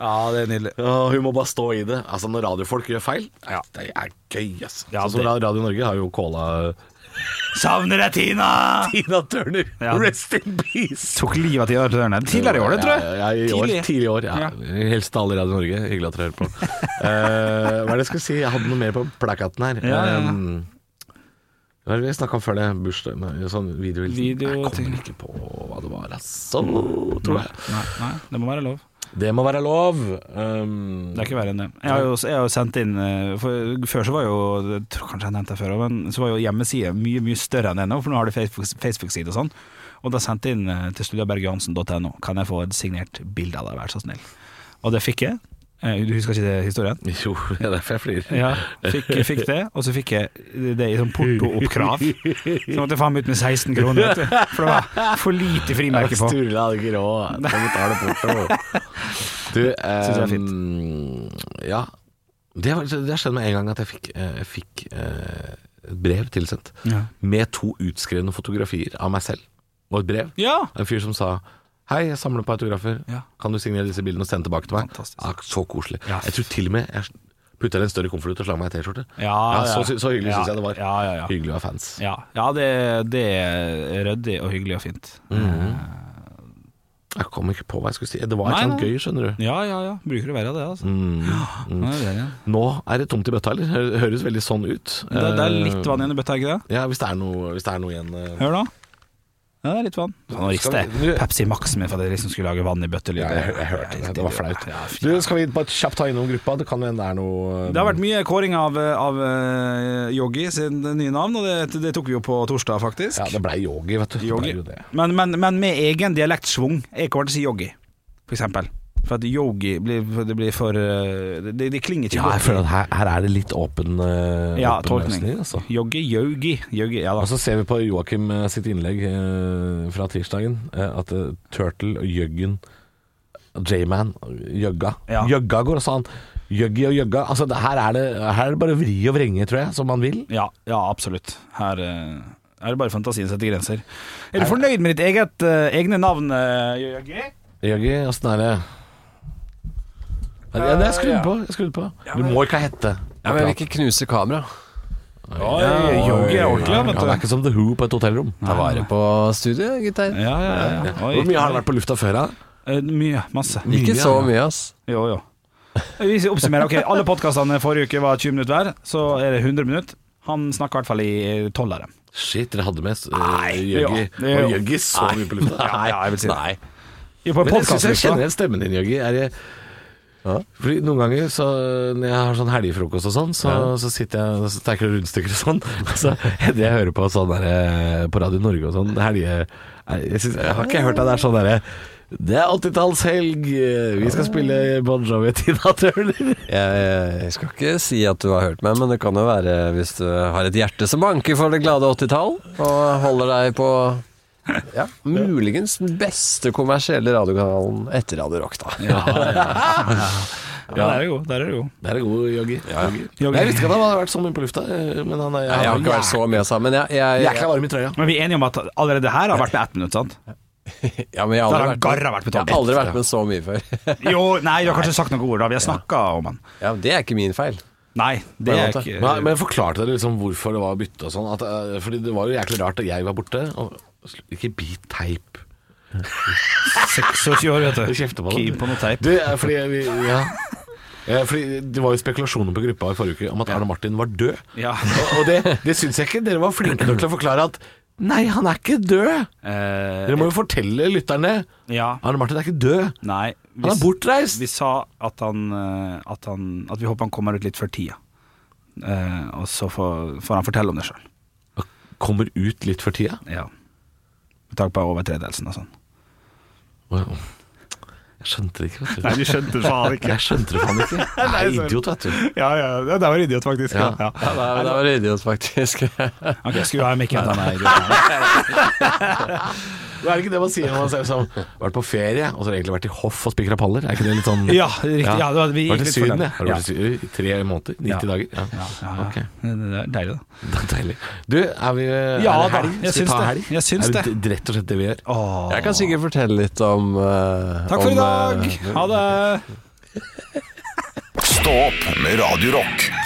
ja, det er nydelig. Å, hun må bare stå i det. Altså, når radiofolk gjør feil, det er gøy, ass. Ja, sånn som det- Radio Norge har jo calla Savner deg, Tina! Tina Turner. Ja. Rest in peace. Tok livet av Tina Turner tidligere i år, det, tror jeg. Ja, ja, i år, Tidlig. tidlig i år. Ja. Ja. Helst til alle i Radio Norge. Hyggelig at dere hører på. Eh, hva er det jeg skulle si? Jeg hadde noe mer på plakaten her. Ja, ja, ja. Um, hva er det vi snakka om før det? Bursdag nei, Sånn videohilsen. Video- jeg kommer ting. ikke på hva det var, altså. Tror jeg. Nei, nei, det må være lov. Det må være lov. Um, Det er ikke verre enn det. Jeg har jo, jeg har jo sendt inn eh, for, Før så var jo jeg tror Kanskje jeg nevnte det før også, men så var jo hjemmesida mye mye større enn det nå, for nå har de Facebook- Facebook-side og sånn. Og da sendte jeg inn eh, til studiabergjohansen.no Kan jeg få et signert bilde av deg, vær så snill? Og det fikk jeg. Eh, Du husker ikke det historien? Jo, det er derfor jeg flirer. Ja, fikk, fikk det, og så fikk jeg det i sånn porto-oppkrav. Så måtte jeg faen meg ut med 16 kroner, vet du. For det var for lite frimerke på. Sturle hadde ikke råd. Da betaler porto. Du, Synes jeg er um, ja. Det har det har skjedd med en gang at jeg fikk, eh, jeg fikk eh, et brev tilsendt Ja. med to utskrevne fotografier av meg selv og et brev. ja. En fyr som sa Hei, jeg samler på autografer. Ja. Kan du signere disse bildene og sende tilbake til meg? Fantastisk. Ja, så koselig. Ja. Jeg tror til og med jeg putta en større konvolutt og slang meg i T-skjorte. Ja, så, ja. så hyggelig Ja, syns jeg det var. ja, ja, ja. Hyggelig å ha fans. Ja, ja det, det er ryddig og hyggelig og fint. Mm. Jeg kom ikke på hva jeg skulle si. Det var Nei, et sånt nei. gøy, skjønner du. Mm. Ja, ja, ja. Bruker å være det, altså. Ja, det, er det. Nå er det tomt i bøtta, eller? Hø- Høres veldig sånn ut. Det, det er litt Eh, vann igjen i bøtta, ikke det? Ja, hvis det er noe, hvis det er noe igjen. eh. Hør nå. Ja, det er litt vann. Nå rister jeg Pepsi Max-en min for at jeg liksom skulle lage vann i bøttelyd. Ja, jeg, jeg hørte det. Det var flaut. Ja, fy- Du, skal vi bare kjapt ta innom gruppa? Det kan jo hende det er noe eh, Det har vært mye kåring av, av eh, Yogi sin nye navn, og det, det tok vi jo på torsdag, faktisk. Ja, det blei yogi, vet du. Det Yogi. ble jo det. Men, men, men med egen dialektsvung. Jeg kommer til å si yogi, for eksempel. For at yogi blir, det blir for eh, Det, det klinger ikke Ja, jeg føler at her, her er det litt åpen, eh, Ja, åpen tolkning. løsning, altså. Yogi, yogi, yogi. Ja da. Og så ser vi på Joakim eh, sitt innlegg eh, fra tirsdagen, eh, at eh, Turtle og Jøggen J-Man, Jøgga Ja. Jøgga går, sa han. Jøggi og Jøgga. Altså, det, her, er det, her er det bare å vri og vrenge, tror jeg, som man vil. Ja, ja absolutt. Her eh, er det bare fantasien setter grenser. Er du fornøyd med ditt eget eh, egne navn, eh, Yogi? Jøggi, åssen er det? Ja, Eh, det er jeg skrudd på. Jeg skrudd på. Du må ikke hete Ja, men jeg vil ikke knuse kamera. Oi, yogi er ordentlig, Ja, vet det er du. ikke som The Who på et hotellrom. Ta vare på studiet, gutter. Ja, ja, ja. Oi. Hvor mye har han vært på lufta før? da? Eh, Mye. Masse. Ikke mye, så ja. mye, ass. Jo, jo. Vi oppsummerer. Ok, Alle podkastene forrige uke var 20 minutter hver, så er det 100 minutter. Han snakker i eh, hvert fall i tolv av dem. Shit, dere hadde med eh, Jøggi. ja, det er Var jo- Jøggi så mye på lufta? Ja, ja, jeg vil si det. Nei. Jo, på Men jeg syns jeg podcastlista. kjenner igjen stemmen din, Jørgi. Er jeg, fordi Noen ganger så, når jeg har sånn helgefrokost og sånn, så, så sitter jeg og så tenker jeg rundstykker og sånn. Og så hender jeg hører på sånn der, eh, på Radio Norge og sånn. Helge, jeg, synes, jeg har ikke hørt deg der sånn derre Det er 80-tallshelg, eh, vi skal spille Bon Jovi og Tina Turner. Jeg, jeg skal ikke si at du har hørt meg, men det kan jo være hvis du har et hjerte som banker for det glade 80-tall, og holder deg på ja, muligens den beste kommersielle radiokanalen etter Radio Rock, da. Ja, der er det god. Der er det god. Det er en god Jørgi. Jørgi. Jørgi. Jeg visste ikke at han hadde vært så mye på lufta, eh, men han er Jeg har ikke vært så med, sa men jeg, jeg, jækla varm i trøya. Men vi er enige om at allerede her har vært med ett minutt, sant? Ja, men jeg har Der har aldri vært Garra vært på med, jeg toppen. har aldri vært med så mye før. Jo, nei, du har kanskje sagt noen ord, da. Vi har snakka om han. Ja, men Det er ikke min feil. Nei, det er På en måte. ikke Men, men jeg forklarte dere liksom hvorfor det var bytte og sånn? At, eh, fordi det var jo jæklig rart at jeg var borte. Og, sl- ikke bit teip. 26 år, vet Jeg du. kjefter på det. Keen på noe teip. Du, eh, fordi, vi, ja. Eh, fordi Det var jo spekulasjoner på gruppa i forrige uke om at Arne Martin var død. Ja. Og, og det, det syns jeg ikke dere var flinke nok til å forklare at Nei, han er ikke død! Dere Eh, må jo fortelle lytterne. ja. Arne Martin er ikke død. Nei. Han er hvis- bortreist! Vi sa at han, eh, at han At vi håper han kommer ut litt før tida. Eh, og så får, får han fortelle om det sjøl. Kommer ut litt for tida. Ja. Med tanke på overtredelsen og sånn. Wow. Jeg skjønte det ikke, vet du. du skjønte faen Jeg skjønte det faen ikke. Jeg er idiot, vet du. Ja, ja, det var idiot, faktisk. Ja. Ja, da, da var det idiot, faktisk. Ok, skru av mikken. da, nei, idiot. Det er ikke det man sier når man ser ut som vært på ferie, og så har egentlig vært i hoff og spikra paller. Er ikke det litt sånn Ja, riktig. Ja, det var- vi gikk Vært i litt for Syden, den. jeg. Har du vært i Syden i tre måneder? 90 Ja. dager? Ja. Ja, ja. Ok. Det er deilig, da. Det er deilig. Du, er vi er Ja, det da, helg? jeg Skal vi syns ta det. helg? Jeg syns er det. d- rett og slett det vi gjør? Åh. Jeg kan sikkert fortelle litt om eh, Takk for i om, dag! eh, Ha det! Stå opp med Radio Rock.